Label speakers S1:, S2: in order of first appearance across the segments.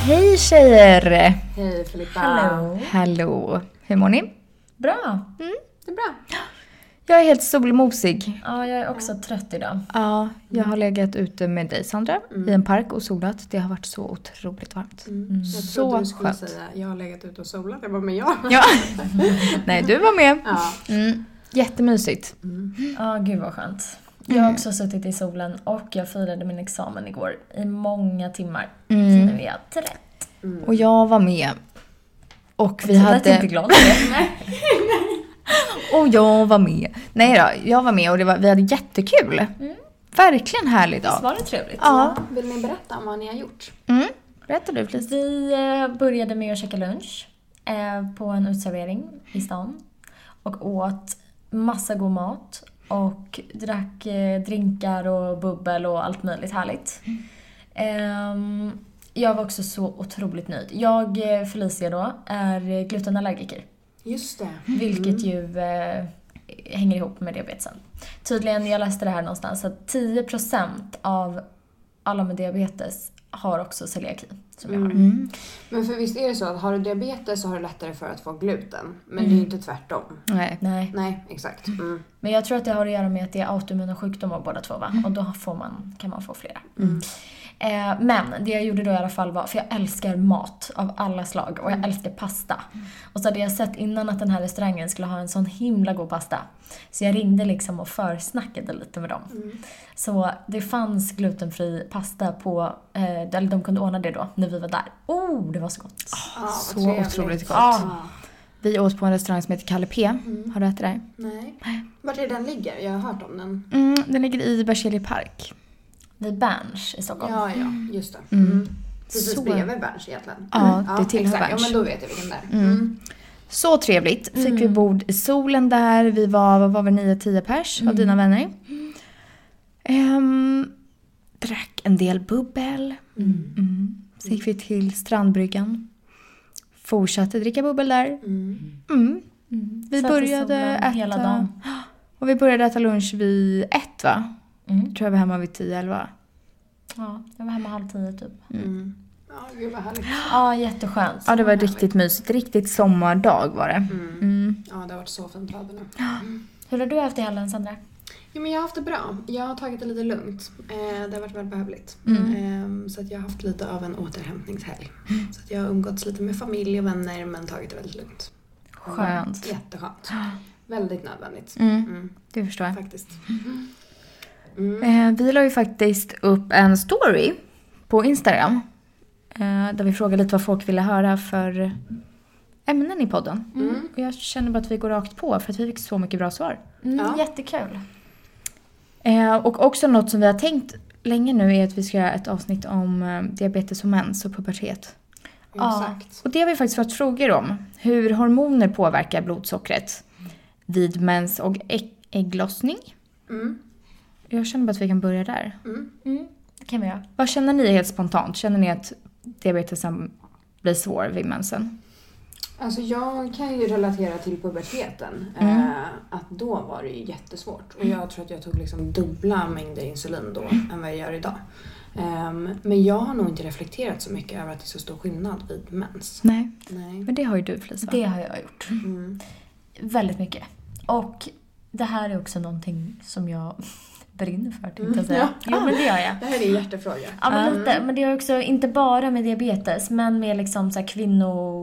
S1: Hej tjejer!
S2: Hej Filippa!
S1: Hallå! Hur mår ni?
S3: Bra.
S2: Det är bra.
S1: Jag är helt solmosig.
S3: Ja, jag är också trött idag.
S1: Ja, Mm. jag har legat ute med dig Sandra i en park och solat. Det har varit så otroligt varmt.
S2: Mm. Jag
S1: Mm. Så
S2: trodde du skulle
S1: skönt.
S2: säga jag har legat ute och solat. Jag bara, men jag?
S1: Ja. Nej, du var med.
S2: Ja.
S1: Mm. Jättemysigt.
S3: Ja, gud vad skönt. Jag
S1: Mm.
S3: har också suttit i solen och jag firade min examen igår i många timmar.
S1: Mm.
S3: Så nu är jag trött.
S1: Och jag var med. Och vi
S3: Vi hade... inte
S1: hade...
S3: glad för det.
S1: Och jag var med. Nej då, jag var med och det var, vi hade jättekul. Verkligen härlig
S3: Visst
S1: dag.
S3: var det trevligt?
S1: Mm. Ja.
S2: Vill ni berätta om vad ni har gjort?
S1: Mm. Berätta du Felicia.
S3: Vi eh, började med att käka lunch eh, på en uteservering i stan. Och åt massa god mat. Och drack eh, drinkar och bubbel och allt möjligt härligt. Ehm, jag var också så otroligt nöjd. Jag, eh, Felicia då, är glutenallergiker.
S2: Just det.
S3: Vilket ju eh, hänger ihop med diabetesen. Tydligen, jag läste det här någonstans, att 10% av alla med diabetes har också celiaki. Som
S1: Mm.
S3: jag har.
S2: Men för visst är det så att har du diabetes så har du lättare för att få gluten.
S1: Mm.
S2: Men det är ju inte tvärtom.
S1: Nej.
S3: Nej.
S2: Nej, exakt. Mm.
S3: Men jag tror att det har att göra med att det är autoimmuna sjukdomar båda två va? Och då får man, kan man få flera.
S1: Mm.
S3: Eh, men det jag gjorde då i alla fall var, för jag älskar mat av alla slag och
S1: Mm.
S3: jag älskar pasta. Och så hade jag sett innan att den här restaurangen skulle ha en sån himla god pasta. Så jag ringde liksom och försnackade lite med dem.
S1: Mm.
S3: Så det fanns glutenfri pasta på, eh, eller de kunde ordna det då när vi var där. Oh, det var så gott!
S1: Ah.
S2: Ja, vad
S1: så
S2: trevligt. Ah.
S1: otroligt gott. Mm.
S2: Ja.
S1: Vi åt på en restaurang som heter Kalle P. Har du ätit där?
S2: Nej. Vart är den ligger? Jag har hört om den.
S1: Mm, den ligger i Berzelii park.
S3: Vid Berns i Stockholm.
S2: Ja, ja, just det. Mm. Precis
S1: Så-
S2: bredvid Berns egentligen.
S1: Ja, det tillhör
S2: exakt.
S1: Berns.
S2: Ja, men då vet jag vilken det är. Mm.
S1: Så trevligt. Fick vi
S3: Mm.
S1: bord i solen där. Vi var, vad var vi, 9-10 pers
S3: Mm.
S1: av dina vänner. Ehm, drack en del bubbel. Mm. Sen gick vi till strandbryggan. Fortsatte dricka bubbel där.
S2: Mm.
S1: Mm. Vi
S3: Satt i
S1: började äta...
S3: solen hela dagen.
S1: Och vi började äta lunch vid ett va?
S3: Mm.
S1: Tror jag var hemma vid 10-11.
S3: Ja, jag var hemma halv tio typ.
S2: Mm. Ja, gud vad härligt.
S3: Ja, jätteskönt.
S1: Ja det var riktigt mysigt. Riktigt sommardag var det. Mm.
S2: Ja, det har varit så fint väder nu.
S3: Hur har du haft i helgen Sandra?
S2: Jo, men jag har haft det bra. Jag har tagit det lite lugnt. Eh, det har varit välbehövligt. Eh, så att jag har haft lite av en återhämtningshelg. Så att jag har umgåtts lite med familj och vänner men tagit det väldigt lugnt.
S1: Skönt.
S2: Jätteskönt. Väldigt nödvändigt.
S1: Mm,
S2: Mm,
S1: det förstår jag.
S2: faktiskt. Mm,
S1: Eh, vi la ju faktiskt upp en story på Instagram. Eh, där vi frågade lite vad folk ville höra för ämnen i podden. Och jag känner bara att vi går rakt på för att vi fick så mycket bra svar.
S3: Mm,
S2: Ja.
S3: Jättekul.
S1: Eh, och också något som vi har tänkt länge nu är att vi ska göra ett avsnitt om eh, diabetes och mens och pubertet.
S3: Ja.
S2: Exakt.
S1: Och det har vi faktiskt fått frågor om. Hur hormoner påverkar blodsockret vid mens och ägg- ägglossning.
S2: Mm,
S1: Jag känner bara att vi kan börja där.
S2: mm.
S3: Mm, det kan vi göra.
S1: Vad känner ni helt spontant? Känner ni att diabetesen blir svår vid mensen?
S2: Alltså jag kan ju relatera till puberteten. Eh, att då var det ju jättesvårt. Och jag tror att jag tog liksom dubbla mängder insulin då än vad jag gör idag. Ehm, men jag har nog inte reflekterat så mycket över att det är så stor skillnad vid mens.
S1: Nej,
S2: Nej.
S1: men det har ju du Felicia. va?
S3: Det har jag gjort.
S2: Mm.
S3: Väldigt mycket. Och det här är också någonting som jag brinner för tänkte jag säga.
S2: Mm, ja.
S3: Jo men det gör jag.
S2: Det här är en hjärtefråga.
S3: Ja men lite. Men det är också inte bara med diabetes men med liksom så här kvinno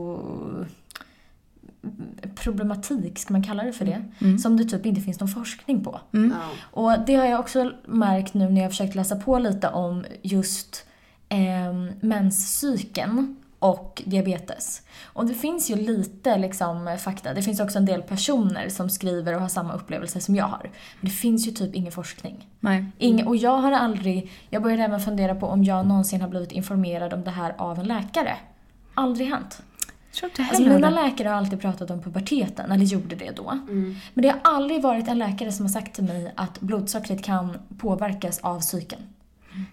S3: problematik, ska man kalla det för det?
S1: Mm.
S3: Som det typ inte finns någon forskning på.
S2: Ja.
S3: Och det har jag också märkt nu när jag har försökt läsa på lite om just eh, menscykeln och diabetes. Och det finns ju lite liksom, fakta. Det finns också en del personer som skriver och har samma upplevelser som jag har. Men det finns ju typ ingen forskning.
S1: Nej.
S3: Ingen, och jag har aldrig, jag började även fundera på om jag någonsin har blivit informerad om det här av en läkare. Aldrig hänt.
S1: tror inte
S3: Alltså,
S1: heller
S3: mina
S1: det.
S3: läkare har alltid pratat om puberteten, eller gjorde det då.
S2: Mm.
S3: Men det har aldrig varit en läkare som har sagt till mig att blodsockret kan påverkas av psyken.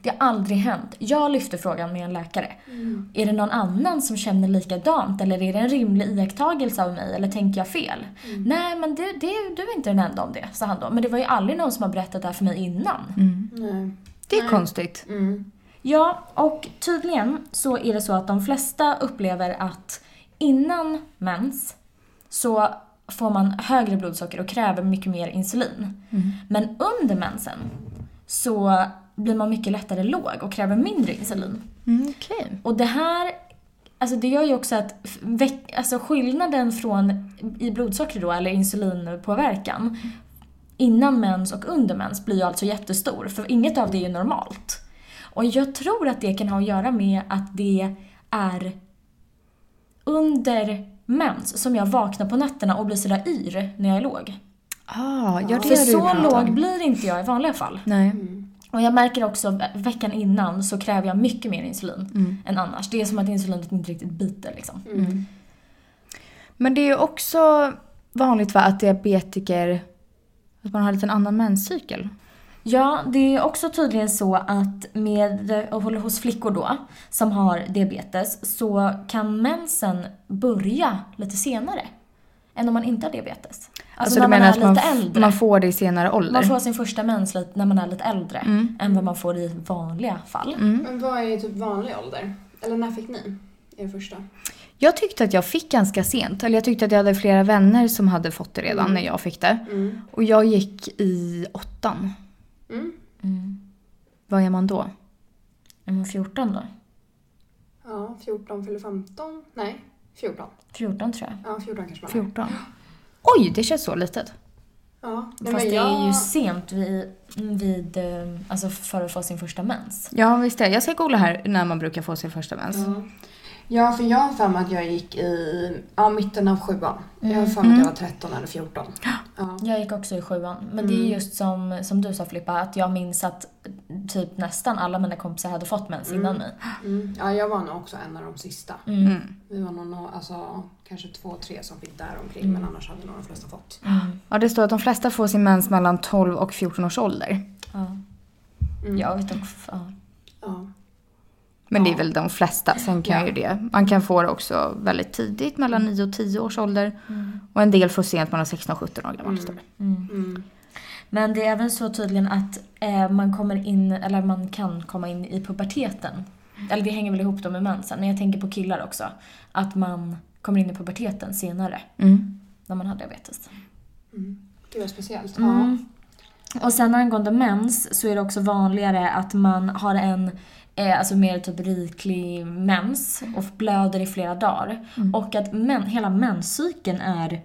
S3: Det har aldrig hänt. Jag lyfte frågan med en läkare.
S2: Mm.
S3: Är det någon annan som känner likadant eller är det en rimlig iakttagelse av mig eller tänker jag fel? Nej men det, det, du är inte den enda om det, sa han då. Men det var ju aldrig någon som har berättat det här för mig innan.
S1: Mm.
S2: Nej.
S1: Det är
S2: Nej.
S1: konstigt.
S2: Mm.
S3: Ja, och tydligen så är det så att de flesta upplever att innan mens så får man högre blodsocker och kräver mycket mer insulin.
S1: Mm.
S3: Men under mensen så blir man mycket lättare låg och kräver mindre insulin.
S1: Mm, Okej.
S3: Och det här Alltså det gör ju också att f- veck, alltså skillnaden från i blodsocker då, eller insulinpåverkan innan mens och under mens blir ju alltså jättestor för inget av det är ju normalt. Och jag tror att det kan ha att göra med att det är under mens som jag vaknar på nätterna och blir sådär yr när jag är låg.
S1: Ah, ja, det
S3: För
S1: har du ju
S3: så
S1: pratat om.
S3: låg blir inte jag i vanliga fall.
S1: Nej.
S2: Mm.
S3: Och jag märker också ve- veckan innan så kräver jag mycket mer insulin
S1: Mm.
S3: än annars. Det är som att insulinet inte riktigt biter liksom.
S2: Mm.
S1: Men det är ju också vanligt va, att diabetiker, att man har lite en annan menscykel.
S3: Ja, det är också tydligen så att med, eh, och håller hos flickor då, som har diabetes, så kan mensen börja lite senare än om man inte har diabetes. Alltså, när man är lite
S1: man,
S3: äldre.
S1: man får det i senare ålder?
S3: Man får sin första mens lite, när man är lite äldre
S1: Mm.
S3: än vad man får i vanliga fall.
S2: Men vad är typ vanlig ålder? Eller när fick ni er första?
S1: Jag tyckte att jag fick ganska sent. Eller jag tyckte att jag hade flera vänner som hade fått det redan när jag fick det.
S2: Mm.
S1: Och jag gick i åttan.
S2: Mm.
S3: Mm.
S1: Vad är man då?
S3: Är man 14 då?
S2: Ja, 14 fyller 15. Nej, 14.
S3: 14 tror jag.
S2: Ja, 14 kanske man är.
S1: 14. Oj, det känns så litet.
S2: Ja, nej,
S3: Fast
S2: men
S3: det är ju
S2: jag...
S3: sent vid, vid eh, alltså för att få sin första mens.
S1: Ja, visst är det. Jag ska googla här när man brukar få sin första mens.
S2: Ja. Ja, för jag har för mig att jag gick i ja, mitten av sjuan. Jag har för
S3: Mm.
S2: mig att jag var 13 eller 14. Ja.
S3: Jag gick också i sjuan. Men det
S2: Mm.
S3: är just som, som du sa Filippa, att jag minns att typ nästan alla mina kompisar hade fått mens innan mig.
S2: Mm. ja, jag var nog också en av de sista.
S3: Mm.
S2: Vi var nog nå- alltså, kanske två, tre som fick där omkring
S3: Mm.
S2: men annars hade nog de flesta fått.
S1: Ja, det står att de flesta får sin mens mellan 12 och 14 års ålder.
S3: Ja.
S2: Mm.
S3: Jag vet också. Ja.
S2: Ja.
S1: Men det är
S2: Ja.
S1: väl de flesta. Sen kan
S2: Ja.
S1: ju det. Man kan få det också väldigt tidigt, mellan 9 och 10 års ålder. Och en del får sent mellan 16 och 17 år gammal. står det.
S2: Mm.
S3: Men det är även så tydligen att eh, man kommer in, eller man kan komma in i puberteten. Eller det hänger väl ihop då med mensen, men jag tänker på killar också. Att man kommer in i puberteten senare,
S1: Mm.
S3: när man har diabetes.
S2: Gud vad Mm. speciellt. Ja.
S3: Mm. Och sen angående mens så är det också vanligare att man har en eh, alltså mer typ riklig mens och blöder i flera dagar. Och att men, hela menscykeln är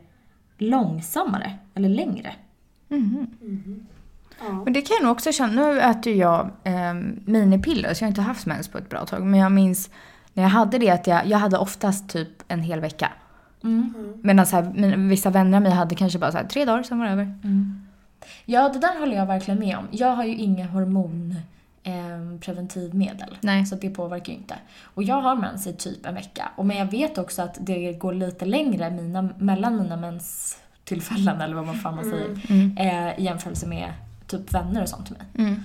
S3: långsammare, eller längre.
S1: Mm.
S2: Mm. Ja.
S1: Men det kan jag nog också känna. Nu äter ju jag eh, minipiller så jag har inte haft mens på ett bra tag. Men jag minns när jag hade det att jag, jag hade oftast typ en hel vecka.
S2: Mm.
S1: Medan så här, mina, vissa vänner av mig hade kanske bara så här, tre dagar, sen var det över.
S3: Mm. Ja, det där håller jag verkligen med om. Jag har ju inga eh, hormonpreventivmedel.
S1: Nej.
S3: Så det påverkar ju inte. Och jag har mens i typ en vecka. Och men jag vet också att det går lite längre mina, mellan mina menstillfällen, eller vad man fan man säger, eh, i jämförelse med typ vänner och sånt till mig.
S1: Mm.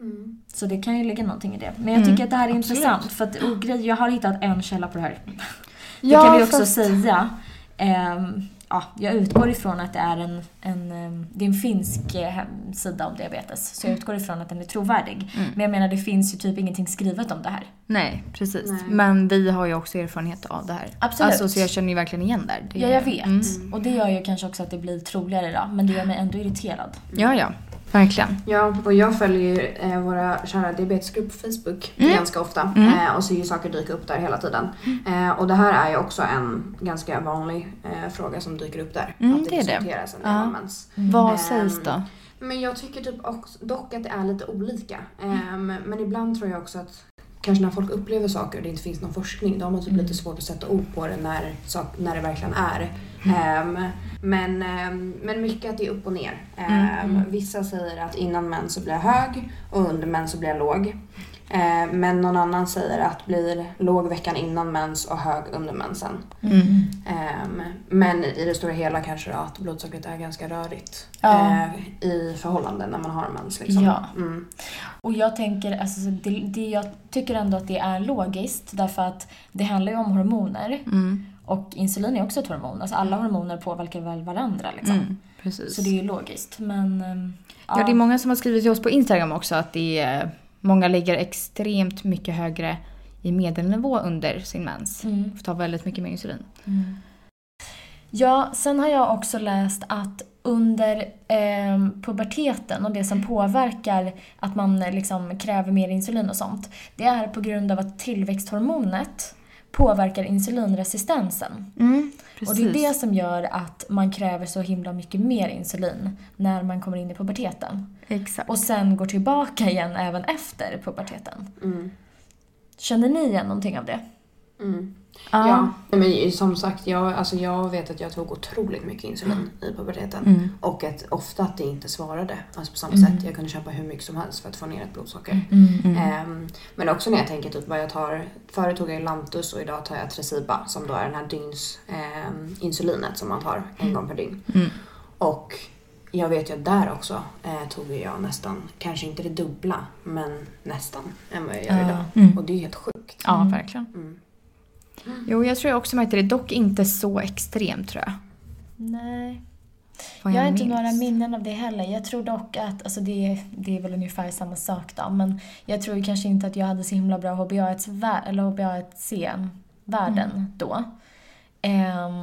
S2: Mm.
S3: Så det kan ju ligga någonting i det. Men jag
S1: Mm.
S3: tycker att det här är intressant för att och grej, jag har hittat en källa på det här. Det
S1: Ja,
S3: kan vi också
S1: fast-
S3: säga. Ehm, ja, jag utgår ifrån att det är en, en, ehm, det är en finsk eh, hemsida om diabetes.
S1: Mm.
S3: Så jag utgår ifrån att den är trovärdig. Men jag menar det finns ju typ ingenting skrivet om det här.
S1: Nej, precis.
S2: Nej.
S1: Men vi har ju också erfarenhet av det här.
S3: Absolut.
S1: Alltså, så jag känner ju verkligen igen där. Det- Mm.
S3: Ja, jag vet. Mm. Och det gör ju kanske också att det blir troligare då. Men det gör mig ändå irriterad.
S1: Ja, ja. Verkligen.
S2: Ja, och jag följer ju eh, våra kära diabetesgrupp på Facebook
S1: Mm.
S2: ganska ofta eh, och ser ju saker dyka upp där hela tiden.
S1: Mm.
S2: Eh, och det här är ju också en ganska vanlig eh, fråga som dyker upp där.
S1: Mm,
S2: att det,
S1: det är det.
S2: diskuteras en del
S1: Ja.
S2: om mens.
S1: Vad
S2: Ehm,
S1: sägs då?
S2: Men jag tycker typ också, dock att det är lite olika. Ehm, men ibland tror jag också att kanske när folk upplever saker och det inte finns någon forskning, då har man typ lite svårt att sätta ord på det när, sak- när det verkligen är. Ehm, men, ehm, men mycket att det är upp och ner. Ehm, Vissa säger att innan mens så blir jag hög och under mens så blir jag låg. Eh, men någon annan säger att blir låg veckan innan mens och hög under mensen.
S1: Mm.
S2: Ehm, men i det stora hela kanske då att blodsockret är ganska rörigt
S3: Ja.
S2: eh, i förhållande när man har mens. Liksom.
S3: Ja.
S2: Mm.
S3: Och jag tänker, alltså, så det, det, jag tycker ändå att det är logiskt därför att det handlar ju om hormoner
S1: Mm.
S3: och insulin är också ett hormon. Alltså alla hormoner påverkar väl varandra liksom.
S1: Mm. Precis.
S3: Så det är ju logiskt. Men, ehm,
S1: Ja, det är många som har skrivit till oss på Instagram också att det är, eh, många ligger extremt mycket högre i medelnivå under sin mens.
S3: Mm.
S1: Får ta väldigt mycket mer insulin.
S3: Ja, sen har jag också läst att under eh, puberteten och det som påverkar att man eh, liksom kräver mer insulin och sånt, det är på grund av att tillväxthormonet påverkar insulinresistensen.
S1: Mm,
S3: Och det är det som gör att man kräver så himla mycket mer insulin när man kommer in i puberteten.
S1: Exakt.
S3: Och sen går tillbaka igen även efter puberteten.
S2: Mm.
S3: Känner ni igen någonting av det?
S2: Mm.
S1: ja.
S2: Ja. men som sagt, jag, alltså jag vet att jag tog otroligt mycket insulin i puberteten.
S1: Mm.
S2: Och att, ofta att det inte svarade alltså på samma sätt. Jag kunde köpa hur mycket som helst för att få ner ett
S1: Mm.
S2: blodsocker.
S1: Eh,
S2: Ehm, men också när jag tänker typ vad jag tar. Förut tog jag Lantus och idag tar jag Tresiba som då är den här dygns ehm, insulinet som man tar en gång per dygn.
S1: Mm.
S2: Och jag vet ju att där också eh, tog ju jag nästan, kanske inte det dubbla, men nästan än vad jag gör
S3: Ja.
S2: idag.
S1: Mm.
S2: Och det är helt sjukt.
S1: Ja,
S3: Mm.
S1: verkligen.
S2: Mm.
S1: Jo, jag tror jag också märkte det. Dock inte så extremt tror jag.
S3: Nej.
S1: Vad
S3: jag har inte
S1: minns.
S3: några minnen av det heller. Jag tror dock att, alltså det, det är väl ungefär samma sak då, men jag tror ju kanske inte att jag hade så himla bra HbA1-vär- eller HbA1c-värden
S1: Mm.
S3: då. Ehm,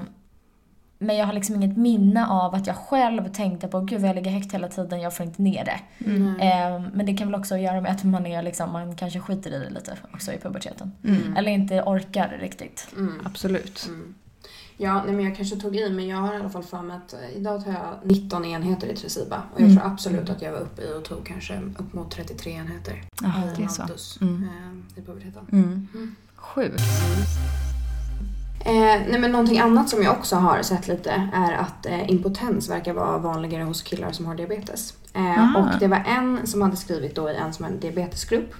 S3: men jag har liksom inget minne av att jag själv tänkte på gud vad jag ligger högt hela tiden, jag får inte ner det.
S2: Mm.
S3: Ehm, men det kan väl också göra med att man, är liksom, man kanske skiter i det lite också i puberteten.
S1: Mm.
S3: Eller inte orkar riktigt.
S2: Mm.
S1: Absolut.
S2: Mm. Ja, nej, men jag kanske tog i men jag har i alla fall för mig att eh, idag tar jag 19 enheter i Tresiba och jag
S1: Mm.
S2: tror absolut att jag var uppe i och tog kanske upp mot 33 enheter
S1: Ja,
S2: i
S1: det är så.
S2: Lantus
S1: Mm.
S2: eh, i puberteten.
S1: Mm.
S2: Mm.
S1: Sjukt.
S2: Eh, nej men någonting annat som jag också har sett lite är att eh, impotens verkar vara vanligare hos killar som har diabetes. Eh,
S1: Aha.
S2: och det var en som hade skrivit då i en som är en diabetesgrupp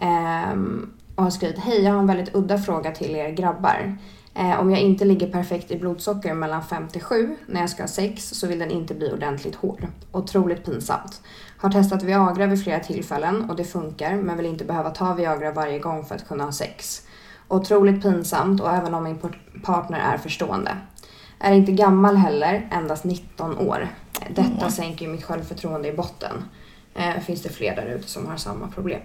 S2: ehm, och har skrivit Hej, jag har en väldigt udda fråga till er grabbar. Eh, om jag inte ligger perfekt i blodsocker mellan 57 när jag ska ha sex så vill den inte bli ordentligt hård. Otroligt pinsamt. Har testat Viagra vid flera tillfällen och det funkar men vill inte behöva ta Viagra varje gång för att kunna ha sex. Otroligt pinsamt och även om min por- partner är förstående. Är inte gammal heller, endast 19 år. Detta sänker ju mitt självförtroende i botten. Eh, finns det fler där ute som har samma problem?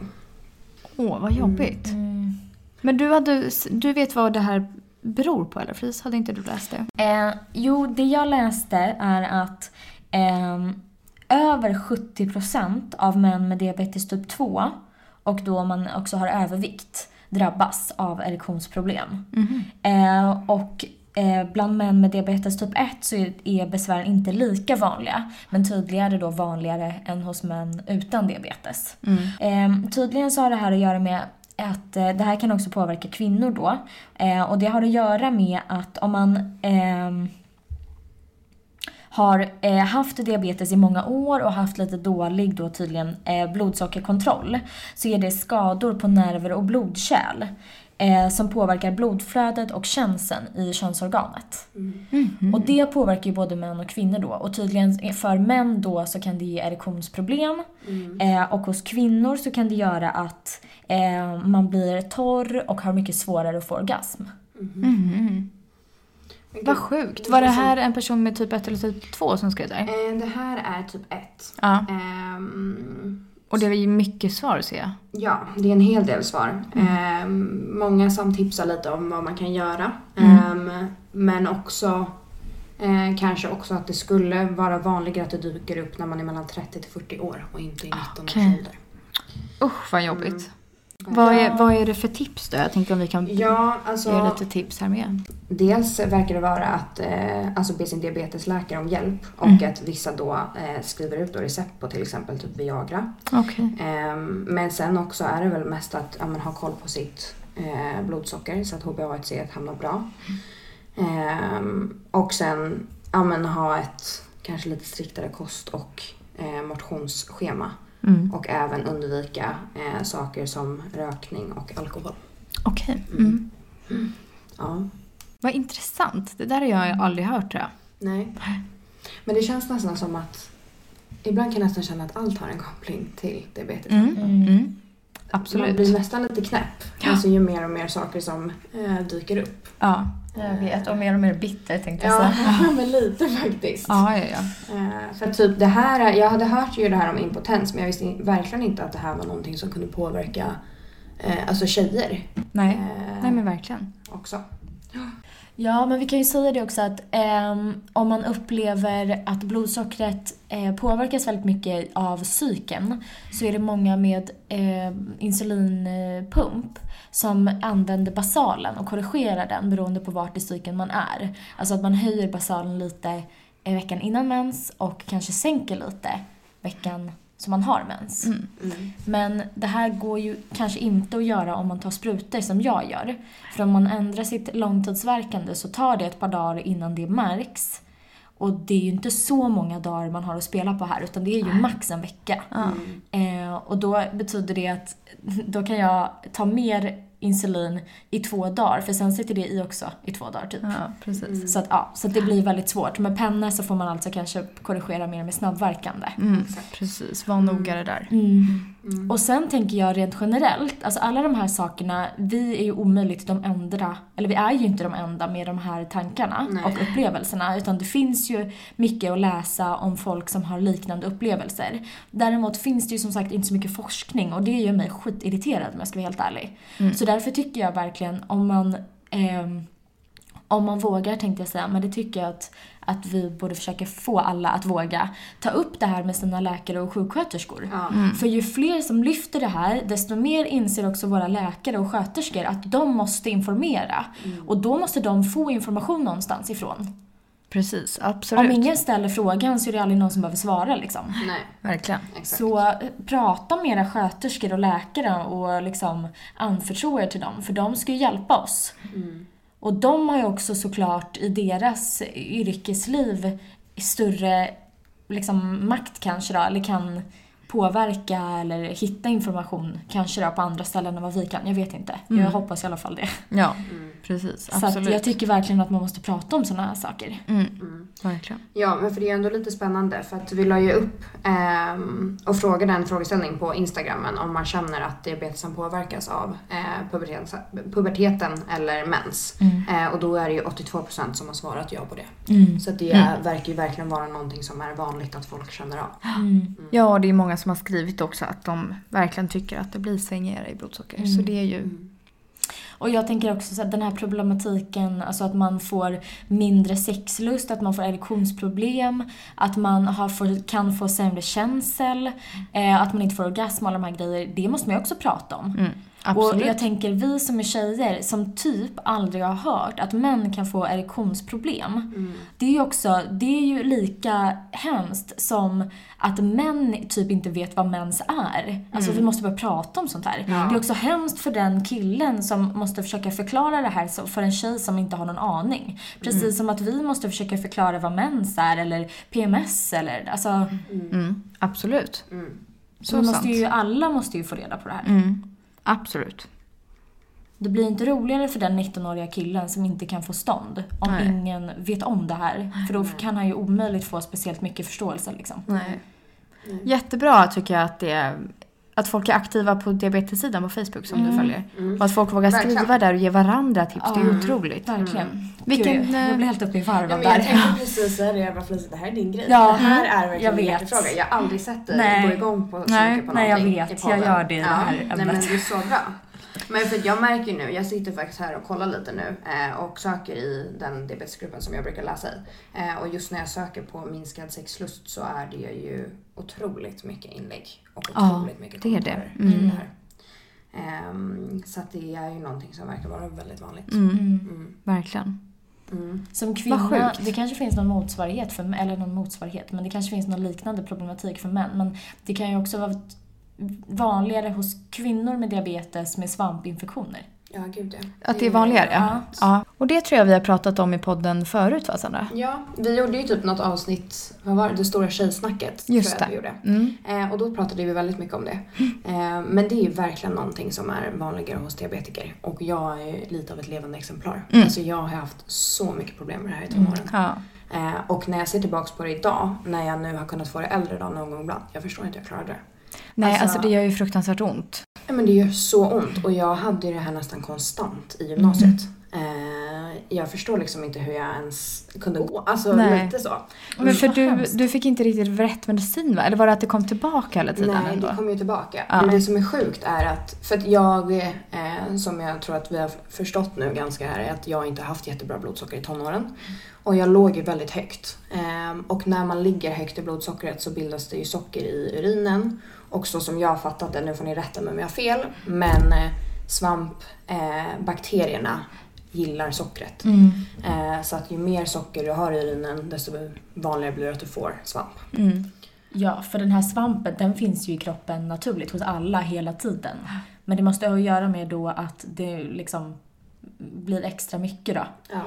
S1: Åh, vad jobbigt. Mm. Men du, hade, du vet vad det här beror på eller Fris? Hade inte du läst det?
S3: Eh, jo, det jag läste är att ehm, över 70% av män med diabetes typ 2 och då om man också har övervikt drabbas av erektionsproblem. Eh, och eh, bland män med diabetes typ 1 så är, är besvären inte lika vanliga men tydligare då vanligare än hos män utan diabetes. Eh, tydligen så har det här att göra med att eh, det här kan också påverka kvinnor då. Eh, och det har att göra med att om man ehm, har eh, haft diabetes i många år och haft lite dålig då tydligen eh, blodsockerkontroll så är det skador på nerver och blodkärl eh, som påverkar blodflödet och känseln i könsorganet.
S2: Mm.
S3: Och det påverkar ju både män och kvinnor då och tydligen eh, för män då så kan det ge erektionsproblem
S2: Mm.
S3: eh, och hos kvinnor så kan det göra att eh, man blir torr och har mycket svårare att få orgasm.
S1: Mm.
S2: Men
S1: Vad
S2: gud,
S1: sjukt. Var det här en person med typ 1 eller typ 2 som skrev det här?
S2: Eh, det här är typ ett.
S1: Ja.
S2: Ehm,
S1: Och det var ju mycket svar ser jag.
S2: ja, det är en hel del svar.
S1: Mm.
S2: Ehm, många som tipsar lite om vad man kan göra.
S1: Mm.
S2: Ehm, men också eh, kanske också att det skulle vara vanligare att det dyker upp när man är mellan 30 till 40 år och inte i 19
S1: Okej.
S2: års ålder.
S1: Usch vad jobbigt. Mm. Vad, är, vad är det för tips då? Jag tänkte om vi kan
S2: Ja, alltså.
S1: ge lite tips här med.
S2: Dels verkar det vara att eh, alltså be sin diabetesläkare om hjälp och
S1: Mm.
S2: att vissa då eh, skriver ut då recept på till exempel typ Viagra.
S1: Okej.
S2: Ehm, men sen också är det väl mest att ja, men, ha koll på sitt eh, blodsocker så att HbA1c hamnar bra. Ehm, och sen ja, men, ha ett kanske lite striktare kost och eh, motionsschema
S1: Mm.
S2: och även undvika eh, saker som rökning och alkohol.
S1: Okej.
S2: Mm.
S1: Mm.
S2: Ja.
S1: Vad intressant. Det där har jag aldrig hört tror jag.
S2: Nej. Men det känns nästan som att ibland kan jag nästan känna att allt har en koppling till diabetes.
S1: Mm.
S3: Mm.
S1: Mm.
S2: Man blir
S1: Absolut.
S2: nästan lite knäpp.
S1: Ja.
S2: Alltså ju mer och mer saker som eh, dyker upp.
S1: Ja.
S3: Jag vet, och mer och mer bitter tänkte jag
S2: Ja,
S3: säga.
S2: men lite faktiskt.
S1: Ja, ja, ja.
S2: Eh, för typ det här, jag hade hört ju det här om impotens men jag visste in- verkligen inte att det här var någonting som kunde påverka eh, alltså tjejer
S1: Nej.
S2: eh,
S1: Nej men verkligen.
S2: också.
S3: Ja, men vi kan ju säga det också att ehm, om man upplever att blodsockret eh, påverkas väldigt mycket av psyken så är det många med eh, insulinpump som använder basalen och korrigerar den beroende på vart i psyken man är. Alltså att man höjer basalen lite eh, veckan innan mens och kanske sänker lite veckan som man har mens.
S1: Mm.
S2: Mm.
S3: Men det här går ju kanske inte att göra om man tar sprutor som jag gör. För om man ändrar sitt långtidsverkande så tar det ett par dagar innan det märks. Och det är ju inte så många dagar man har att spela på här utan det är ju max en vecka.
S1: Ja.
S2: Mm.
S3: Eh, och då betyder det att då kan jag ta mer insulin i två dagar för sen sitter det i också i två dagar typ.
S1: Ja, precis.
S2: Mm.
S3: Så, att, ja, så att det blir väldigt svårt. Med pennor så får man alltså kanske korrigera mer med snabbverkande.
S1: Mm. Precis. Var noga det där.
S3: Mm.
S2: Mm.
S3: Och sen tänker jag rent generellt, alltså alla de här sakerna, vi är ju omöjligt de enda, eller vi är ju inte de enda med de här tankarna
S2: Nej.
S3: och upplevelserna, utan det finns ju mycket att läsa om folk som har liknande upplevelser. Däremot finns det ju som sagt inte så mycket forskning och det gör mig skitirriterad om jag ska vara helt ärlig.
S1: Mm.
S3: Så därför tycker jag verkligen om man ehm, om man vågar tänkte jag säga, men det tycker jag att, att vi borde försöka få alla att våga ta upp det här med sina läkare och sjuksköterskor.
S2: Ja.
S3: För ju fler som lyfter det här, desto mer inser också våra läkare och sköterskor att de måste informera. Och då måste de få information någonstans ifrån.
S1: Precis,
S3: Om
S1: absolut.
S3: ingen ställer frågan så är det aldrig någon som behöver svara liksom.
S2: Nej,
S1: Verkligen.
S2: exakt.
S3: Så eh, prata med era sköterskor och läkare och liksom anförtro er till dem, för de ska ju hjälpa oss.
S2: Mm.
S3: Och de har ju också såklart i deras yrkesliv större liksom, makt kanske då, eller kan påverka eller hitta information kanske då på andra ställen än vad vi kan. Jag vet inte. Jag
S1: Mm.
S3: hoppas i alla fall det.
S1: Ja,
S2: Mm.
S1: precis.
S3: Så
S1: Absolut.
S3: att jag tycker verkligen att man måste prata om sådana här saker.
S1: mm,
S2: Mm.
S1: verkligen.
S2: Ja, men för det är ändå lite spännande för att vi la ju upp ehm, och frågade en frågeställning på Instagrammen om man känner att diabetesen påverkas av eh, puberteten, puberteten eller mens. Eh, och då är det ju 82% som har svarat ja på det.
S3: Mm.
S2: Så att det
S1: Mm.
S2: verkar ju verkligen vara någonting som är vanligt att folk känner av.
S3: Mm.
S1: Ja, och det är många som har skrivit också att de verkligen tycker att det blir svängigare i blodsocker.
S3: Mm.
S1: Så det är ju...
S3: Och jag tänker också så att den här problematiken, alltså att man får mindre sexlust, att man får erektionsproblem, att man har för, kan få sämre känsel, eh, att man inte får orgasm och alla de här grejer. Det måste man ju också prata om.
S1: Mm,
S3: Och
S1: absolut.
S3: jag tänker vi som är tjejer som typ aldrig har hört att män kan få erektionsproblem.
S2: Mm.
S3: Det är ju också, det är ju lika hemskt som att män typ inte vet vad mens är. Alltså
S1: Mm.
S3: vi måste börja prata om sånt här.
S2: Ja.
S3: Det är också hemskt för den killen som måste försöka förklara det här så- för en tjej som inte har någon aning. Precis
S1: Mm.
S3: som att vi måste försöka förklara vad mens är eller PMS eller alltså.
S1: Mm, absolut.
S2: Mm.
S1: Så
S3: vi måste
S1: sant.
S3: ju, alla måste ju få reda på det här.
S1: Mm, absolut.
S3: Det blir inte roligare för den 19-åriga killen som inte kan få stånd om
S1: Nej.
S3: ingen vet om det här. För då kan han ju omöjligt få speciellt mycket förståelse liksom.
S1: Nej.
S2: Nej.
S1: Jättebra tycker jag att det är, att folk är aktiva på diabetessidan på Facebook som du
S3: Mm.
S1: följer.
S2: Mm.
S1: Och att folk vågar
S2: Verkligen.
S1: skriva där och ge varandra tips. Det är
S3: Ja.
S1: otroligt.
S3: Verkligen.
S1: Mm. Vilken,
S3: Gud, jag
S1: eh,
S3: blir helt uppe i varv
S2: Ja,
S3: av
S2: men
S3: det
S2: jag
S3: här.
S2: tänkte precis säga det, jag bara Felicia det här är din grej.
S3: Ja,
S2: det här är
S3: jag
S2: verkligen en
S3: vet.
S2: hjärtefråga. Jag har aldrig sett dig
S3: Nej.
S2: gå igång på så
S1: Nej,
S2: mycket på
S3: nej, jag
S2: någonting
S3: vet.
S2: i podden.
S3: Jag gör det i det här
S2: nej,
S3: ämnet.
S2: men det är så bra. Men för att jag märker ju nu, jag sitter faktiskt här och kollar lite nu eh, och söker i den diabetesgruppen som jag brukar läsa i. Eh, och just när jag söker på minskad sexlust så är det ju otroligt mycket inlägg och
S1: Ja,
S2: otroligt mycket
S1: det är det.
S2: kommentarer
S1: Mm.
S2: kring det här. Ehm, så att det är ju någonting som verkar vara väldigt vanligt.
S1: Mm,
S3: Mm.
S2: Mm.
S1: verkligen.
S2: Mm.
S3: Som
S1: Vad
S3: kvinna,
S1: sjukt.
S3: det kanske finns någon motsvarighet för eller någon motsvarighet, men det kanske finns någon liknande problematik för män. Men det kan ju också vara vanligare hos kvinnor med diabetes med svampinfektioner.
S2: Ja, gud ja.
S1: Att det är vanligare?
S2: Ja.
S1: ja. Och det tror jag vi har pratat om i podden förut va Sandra?
S2: Ja, vi gjorde ju typ något avsnitt, vad var det, det stora tjejsnacket.
S1: Just
S2: tror jag
S1: det.
S2: Vi gjorde.
S1: Mm.
S2: Eh, och då pratade vi väldigt mycket om det. Eh, men det är ju verkligen någonting som är vanligare hos diabetiker. Och jag är ju lite av ett levande exemplar.
S1: Mm.
S2: Alltså jag har haft så mycket problem med det här i tonåren.
S1: Ja.
S2: Eh, och när jag ser tillbaka på det idag, när jag nu har kunnat få det äldre idag någon gång ibland. Jag förstår inte hur jag klarade det.
S1: Nej, alltså,
S2: Alltså-
S1: det gör ju fruktansvärt ont.
S2: Ja, men det gör så ont och jag hade ju det här nästan konstant i gymnasiet.
S1: Mm.
S2: Eh, jag förstår liksom inte hur jag ens kunde gå. Alltså
S1: Nej.
S2: lite så.
S1: Men för
S3: vad
S1: du,
S3: hemskt.
S1: du fick inte riktigt rätt medicin va? Eller var det att det kom tillbaka hela tiden
S2: Nej,
S1: ändå?
S2: det kommer ju tillbaka.
S1: Ja.
S2: Men det som är sjukt är att, för att jag, eh, som jag tror att vi har förstått nu ganska här, är att jag inte har haft jättebra blodsocker i tonåren. Och jag låg ju väldigt högt. Eh, och när man ligger högt i blodsockret så bildas det ju socker i urinen. Och så som jag har fattat det, nu får ni rätta mig om jag har fel, men eh, svampbakterierna gillar sockret.
S1: Mm.
S2: Eh, så att ju mer socker du har i urinen desto vanligare blir det att du får svamp.
S1: Mm.
S3: Ja, för den här svampen den finns ju i kroppen naturligt hos alla hela tiden. Men det måste ha att göra med då att det liksom blir extra mycket då.
S2: Ja,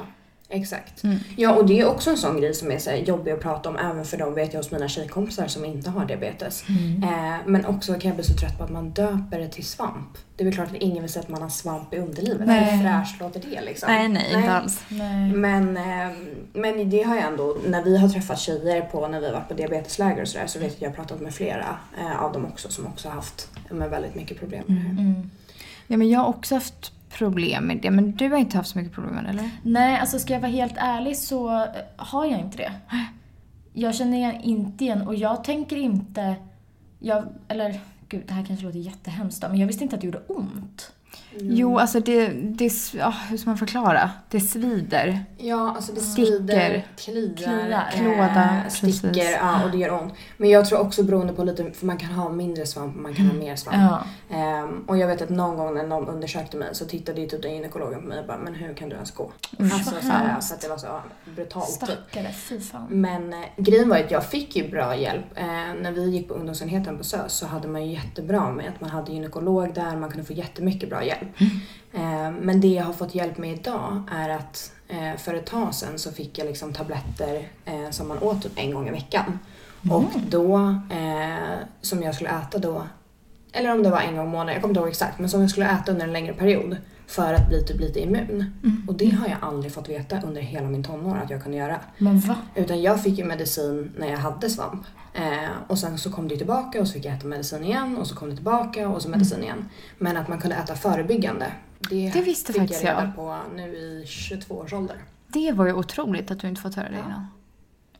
S2: exakt.
S1: Mm.
S2: Ja, och det är också en sån grej som är så här jobbig att prata om även för de vet jag hos mina tjejkompisar som inte har diabetes. Eh, men också kan jag bli så trött på att man döper det till svamp. Det är väl klart att ingen vill säga att man har svamp i underlivet.
S1: Nej.
S2: Hur fräscht låter det liksom?
S1: Nej, nej, inte alls.
S3: Nej.
S2: Men, eh, men det har jag ändå, när vi har träffat tjejer på, när vi har varit på diabetesläger och sådär så vet jag att jag har pratat med flera eh, av dem också som också har haft eh, men, väldigt mycket problem med det här.
S3: Mm.
S1: Ja, men jag har också haft problem med det. Men du har inte haft så mycket problem med det, eller?
S3: Nej, alltså ska jag vara helt ärlig så eh, har jag inte det. Jag känner igen- inte igen och jag tänker inte... Jag, eller gud, det här kanske låter jättehemskt då, men jag visste inte att det gjorde ont.
S2: Mm.
S1: Jo, alltså det... det s- ja, hur ska man förklara? Det svider.
S2: Ja, alltså det
S1: Sticker.
S2: svider, kliar,
S3: Kliar.
S2: eh,
S1: Klåda, precis.
S2: sticker ja, och det gör ont. Men jag tror också beroende på lite, för man kan ha mindre svamp och man kan ha mer svamp.
S3: Ja.
S2: Ehm, och jag vet att någon gång när någon undersökte mig så tittade ju typ den gynekologen på mig och bara “men hur kan du ens gå?” Alltså
S3: vad
S2: så, här,
S3: hemskt.
S2: så att det var så ja, brutalt typ.
S3: Alltså, Stackare, fy fan.
S2: Men eh, grejen var ju att jag fick ju bra hjälp. Eh, när vi gick på ungdomsenheten på SÖS så hade man ju jättebra med att man hade gynekolog där, man kunde få jättemycket bra hjälp. Eh, men det jag har fått hjälp med idag är att eh, för ett tag sedan så fick jag liksom tabletter eh, som man åt typ en gång i veckan. Och då, eh, som jag skulle äta då, eller om det var en gång i månaden, jag kommer inte ihåg exakt, men som jag skulle äta under en längre period för att bli typ lite immun. Och det har jag aldrig fått veta under hela min tonår att jag kunde göra.
S3: Men va?
S2: Utan jag fick ju medicin när jag hade svamp. Eh, och sen så kom det tillbaka och så fick jag äta medicin igen och så kom det tillbaka och så
S3: Mm.
S2: medicin igen. Men att man kunde äta förebyggande. Det,
S1: Det visste
S2: fick
S1: faktiskt
S2: jag.
S1: jag.
S2: reda på nu i 22 års ålder.
S1: Det var ju otroligt att du inte fått höra det
S2: Ja.
S1: innan.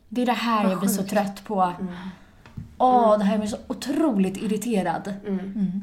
S3: Det är det här jag blir så trött på. Åh, det här gör mig så otroligt irriterad.
S2: Mm.
S1: Mm.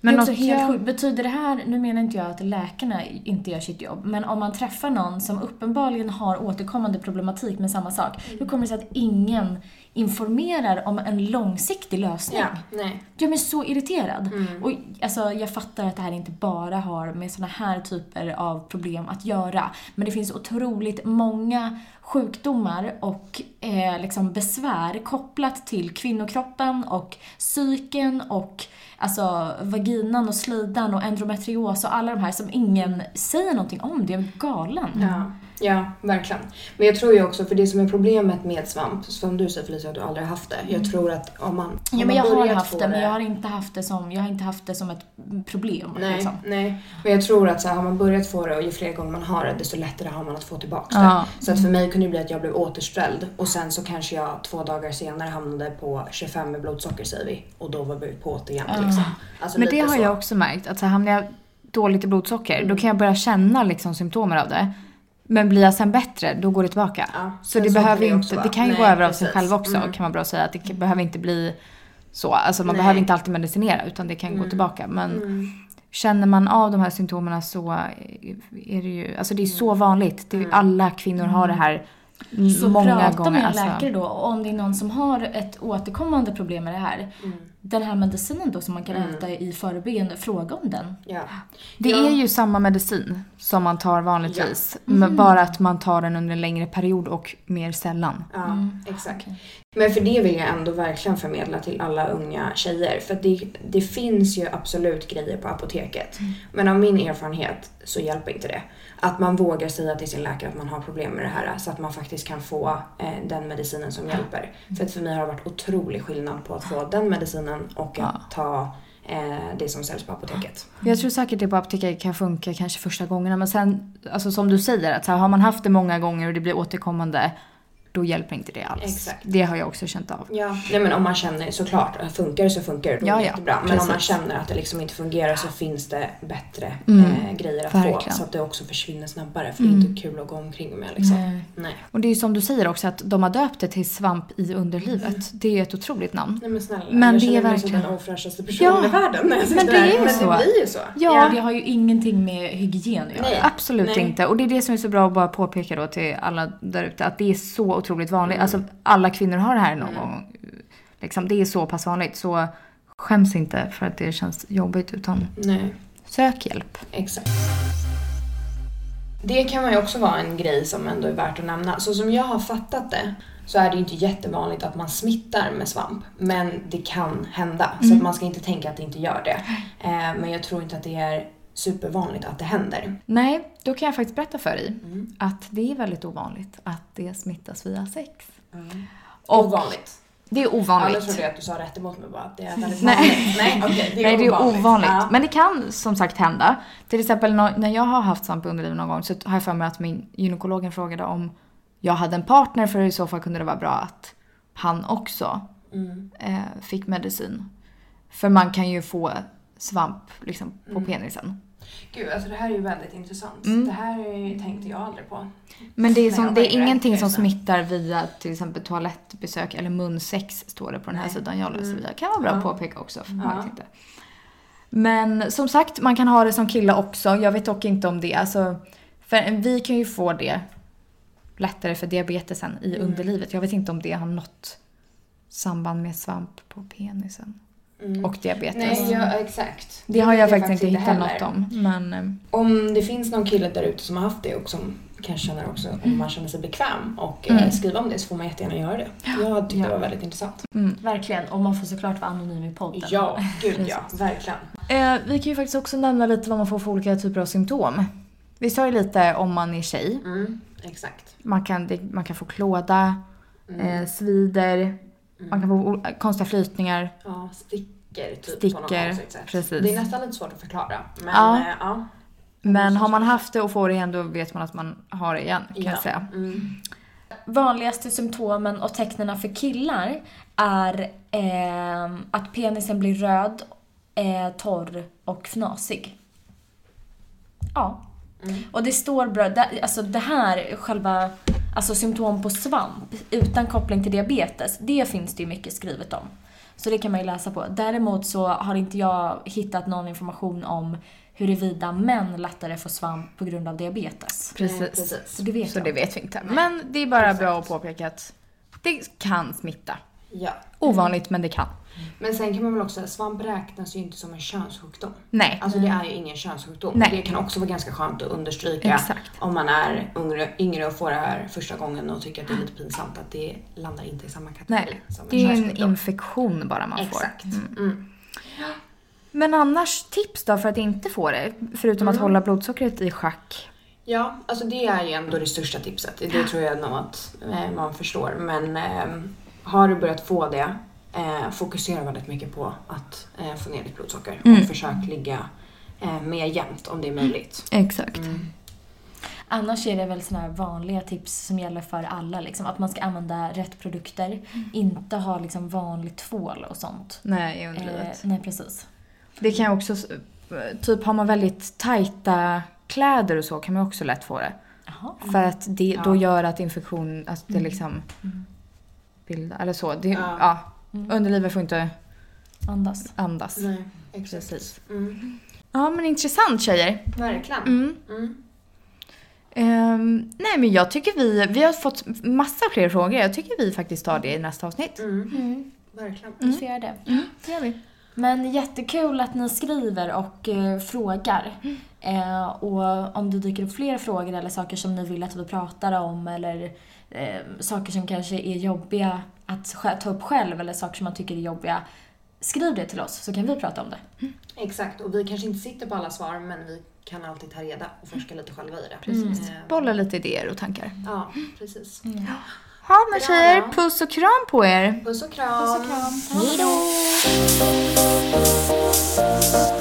S1: Men
S3: det är också
S1: något
S3: helt
S1: jag-
S3: sjukt. Betyder det här, nu menar inte jag att läkarna inte gör sitt jobb, men om man träffar någon som uppenbarligen har återkommande problematik med samma sak,
S1: Mm.
S3: hur kommer det sig att ingen informerar om en långsiktig lösning?
S2: Ja, nej. Mm.
S3: Jag blir så irriterad. Och, alltså, jag fattar att det här inte bara har med såna här typer av problem att göra. Men det finns otroligt många sjukdomar och eh, liksom besvär kopplat till kvinnokroppen och psyken och alltså, vaginan och slidan och endometrios och alla de här som ingen säger någonting om. Det är galen.
S2: Ja. ja, verkligen. Men jag tror ju också, för det som är problemet med svamp, som du säger Felicia, att du aldrig har haft det. Jag tror att om man... Om
S3: Mm.
S2: man
S3: Ja, men jag har
S2: börjat
S3: haft
S2: få
S3: det, men jag har inte haft det som, jag har inte haft det som ett problem.
S2: Nej,
S3: Liksom.
S2: nej, men jag tror att så här, har man börjat få det och ju fler gånger man har det desto lättare har man att få tillbaka
S1: Ja.
S2: det. Så att för mig kunde det bli att jag blev återställd och sen så kanske jag två dagar senare hamnade på 25 med blodsocker säger vi och då var vi på åt igen. Liksom. Alltså,
S1: Ah. Men det
S2: lite
S1: har
S2: så.
S1: jag också märkt. Att så här, hamnar jag dåligt i blodsocker, då kan jag börja känna liksom symptomen av det. Men blir jag sen bättre, då går det tillbaka.
S2: Ja,
S1: så
S2: men
S1: det
S2: så
S1: behöver
S2: kan det
S1: ju
S2: också
S1: inte,
S2: vara.
S1: det kan ju gå
S2: Nej,
S1: över av sig
S2: precis.
S1: själv också
S2: Mm.
S1: kan man bra säga. Att det kan- behöver inte bli så. Alltså man
S2: Nej. Mm.
S1: behöver inte alltid medicinera utan det kan gå tillbaka. Men känner man av de här symptomen så eh, är det ju, alltså det är så vanligt. Det är,
S2: Mm.
S1: alla kvinnor har det här m-
S3: Så
S1: Mm, många
S3: prata
S1: gånger.
S3: med en
S1: alltså.
S3: läkare då och om det är någon som har ett återkommande problem med det här. den här medicinen då som man kan
S2: Mm.
S3: äta i förebyggande, fråga om den.
S2: Ja.
S1: Det
S2: Ja.
S1: är ju samma medicin som man tar vanligtvis.
S2: Mm.
S1: Men bara att man tar den under en längre period och mer sällan.
S2: Ja, exakt. Men för det vill jag ändå verkligen förmedla till alla unga tjejer. För att det, det finns ju absolut grejer på apoteket. Men av min erfarenhet så hjälper inte det. Att man vågar säga till sin läkare att man har problem med det här så att man faktiskt kan få eh, den medicinen som hjälper. För att för mig har det varit otrolig skillnad på att få den medicinen och att
S1: Ja.
S2: ta eh, det som säljs på apoteket.
S1: Jag tror säkert det på apoteket kan funka kanske första gångerna men sen, alltså som du säger, att så här, har man haft det många gånger och det blir återkommande, då hjälper inte det alls.
S2: Exakt.
S1: Det har jag också känt av.
S2: Ja, nej men om man känner såklart, funkar det så funkar det, då är
S1: Ja,
S2: det
S1: ja,
S2: jättebra. Men om man
S1: precis.
S2: känner att det liksom inte fungerar så finns det bättre
S1: Mm,
S2: eh, grejer att få.
S1: verkligen. Mm.
S2: Så att det också försvinner snabbare för det är inte kul att gå omkring med liksom. Nej. Nej,
S1: Och det är ju som du säger också att de har döpt det till svamp i underlivet.
S2: Mm.
S1: Det är ju ett otroligt namn.
S2: men snälla.
S1: Men
S2: jag
S1: det är
S2: känner mig
S1: verkligen-
S2: som den ofräschaste personen
S1: Ja,
S2: i världen när jag sitter
S1: men det är
S2: här.
S1: ju
S2: men
S1: så.
S2: det blir ju så.
S1: Ja.
S3: Det har ju ingenting med hygien att göra.
S2: Nej.
S1: Absolut
S2: Nej.
S1: inte. Och det är det som är så bra att bara påpeka då till alla där ute att det är så otroligt vanligt.
S2: Mm.
S1: Alltså alla kvinnor har det här någon gång. Liksom, det är så pass vanligt. Så skäms inte för att det känns jobbigt utan
S2: Nej,
S1: sök hjälp.
S2: exakt. Det kan man ju också vara en grej som ändå är värt att nämna. Så som jag har fattat det så är det ju inte jättevanligt att man smittar med svamp. Men det kan hända. Så
S1: Mm.
S2: att man ska inte tänka att det inte gör det. Eh, men jag tror inte att det är supervanligt att det händer.
S1: Nej, då kan jag faktiskt berätta för dig att det är väldigt ovanligt att det smittas via sex. Och-
S2: Ovanligt.
S1: Alltså, Det är
S2: Alla
S1: ovanligt.
S2: trodde jag att du sa rätt emot mig bara. att Det är väldigt
S1: Nej.
S2: vanligt. Nej, okej.
S1: Nej, det är ovanligt.
S2: Ja.
S1: Men det kan som sagt hända. Till exempel nå- när jag har haft svamp i underlivet någon gång så har jag för mig att min gynekologen frågade om jag hade en partner för i så fall kunde det vara bra att han också
S2: Mm.
S1: eh, fick medicin. För man kan ju få svamp liksom, på penisen.
S2: Gud, alltså det här är ju väldigt intressant.
S1: Mm.
S2: Det här är- tänkte jag aldrig på.
S1: Men det är,
S2: Nej,
S1: som,
S2: jag
S1: det
S2: var ju
S1: är ingenting
S2: rädd.
S1: som smittar via till exempel toalettbesök eller munsex står det på den här
S2: Nej.
S1: sidan jag läser
S2: Mm.
S1: via. Kan vara bra att
S2: Ja.
S1: påpeka också för
S2: Ja.
S1: man vet inte. Men som sagt, man kan ha det som kille också. Jag vet dock inte om det. Alltså, för vi kan ju få det lättare för diabetesen i
S2: Mm.
S1: underlivet. Jag vet inte om det har något samband med svamp på penisen
S2: Mm.
S1: och diabetes.
S2: Nej, ja, exakt.
S1: Det har jag
S2: vet
S1: faktiskt inte hittat
S2: heller.
S1: något om. Men, eh,
S2: Om det finns någon kille där ute som har haft det och som kanske känner också om man känner sig bekväm och eh,
S1: Mm.
S2: skriva om det så får man jättegärna göra det. Jag tyckte det var väldigt intressant.
S1: mm.
S3: Verkligen, och man får såklart vara anonym i podden.
S2: Ja, gud ja. Verkligen.
S1: Eh, vi kan ju faktiskt också nämna lite vad man får för olika typer av symptom. Vi sa ju lite om man är tjej.
S2: Mm, exakt.
S1: Man kan, det, man kan få klåda,
S2: Mm.
S1: eh, svider, man kan få o- konstiga flytningar.
S2: Ja, sticker typ på något
S1: Sticker,
S2: konstigt sätt.
S1: precis.
S2: Det är nästan lite svårt att förklara. Men
S1: Ja.
S2: ja. Eh, ja.
S1: Men har man haft det och får det igen då vet man att man har det igen kan
S2: Mm. ja.
S1: jag säga.
S2: Mm.
S3: Vanligaste symptomen och tecknena för killar är eh, att penisen blir röd, eh, torr och fnasig. Ja.
S2: Mm.
S3: Och det står bra, det, alltså det här själva, alltså symptom på svamp utan koppling till diabetes, det finns det ju mycket skrivet om. Så det kan man ju läsa på. Däremot så har inte jag hittat någon information om huruvida män lättare får svamp på grund av diabetes.
S1: Precis.
S2: Nej, Eh, precis.
S3: Så det vet
S1: Så
S3: jag.
S1: det vet vi inte. Men det är bara
S2: Exakt.
S1: bra att påpeka att det kan smitta.
S2: Ja.
S1: Ovanligt
S2: Mm.
S1: men det kan.
S2: Men sen kan man väl också säga svamp räknas ju inte som en könssjukdom.
S1: Nej. Mm.
S2: Alltså det är ju ingen könssjukdom.
S1: Nej.
S2: Det kan också vara ganska skönt att understryka
S1: Exakt.
S2: om man är yngre, yngre och får det här första gången och tycker att det är lite pinsamt att det landar inte i samma kategori
S1: Nej.
S2: som
S1: Det är en
S2: könssjukdom.
S1: infektion bara man får.
S2: Exakt. Mm.
S1: Men annars tips då för att inte få det? Förutom att hålla blodsockret i schack.
S2: Ja, alltså det är ju ändå det största tipset. Det tror jag nog att eh, man förstår. Men eh, har du börjat få det, eh, fokusera väldigt mycket på att eh, få ner ditt blodsocker.
S1: Mm.
S2: Och försök ligga eh, mer jämnt om det är möjligt.
S1: Exakt.
S2: Mm.
S3: Annars är det väl såna här vanliga tips som gäller för alla. Liksom. Att man ska använda rätt produkter,
S1: Mm.
S3: inte ha liksom vanlig tvål och sånt.
S1: Nej, i
S3: Eh,
S1: underlivet.
S3: nej, precis.
S1: Det kan jag också, s- typ har man väldigt tajta kläder och så kan man också lätt få det.
S3: Jaha.
S2: Mm.
S1: För att det
S2: Ja.
S1: då gör att infektion, att det liksom bildar, eller så. Det, ja.
S2: Mm. Ja.
S1: Underlivet får inte
S3: Andas.
S1: andas.
S2: Nej,
S1: Precis.
S2: Mm.
S1: Ja men intressant tjejer.
S2: Verkligen.
S1: Mm.
S2: Mm.
S1: Ehm, nej men jag tycker vi, vi har fått massa fler frågor. Jag tycker vi faktiskt tar det i nästa avsnitt.
S2: Mm. Verkligen.
S3: Vi får göra det.
S1: Det gör vi.
S3: Men jättekul att ni skriver och eh, frågar. Eh, och om det dyker upp fler frågor eller saker som ni vill att vi pratar om eller eh, saker som kanske är jobbiga att sj- ta upp själv eller saker som man tycker är jobbiga. Skriv det till oss så kan vi prata om det.
S2: Exakt, och vi kanske inte sitter på alla svar men vi kan alltid ta reda och forska lite själva i det.
S1: Precis.
S2: Eh,
S1: Bolla lite idéer och tankar.
S2: Ja, precis.
S1: Ja men
S2: Bra.
S1: tjejer, puss och kram på er.
S2: Puss och kram!
S3: Hej då!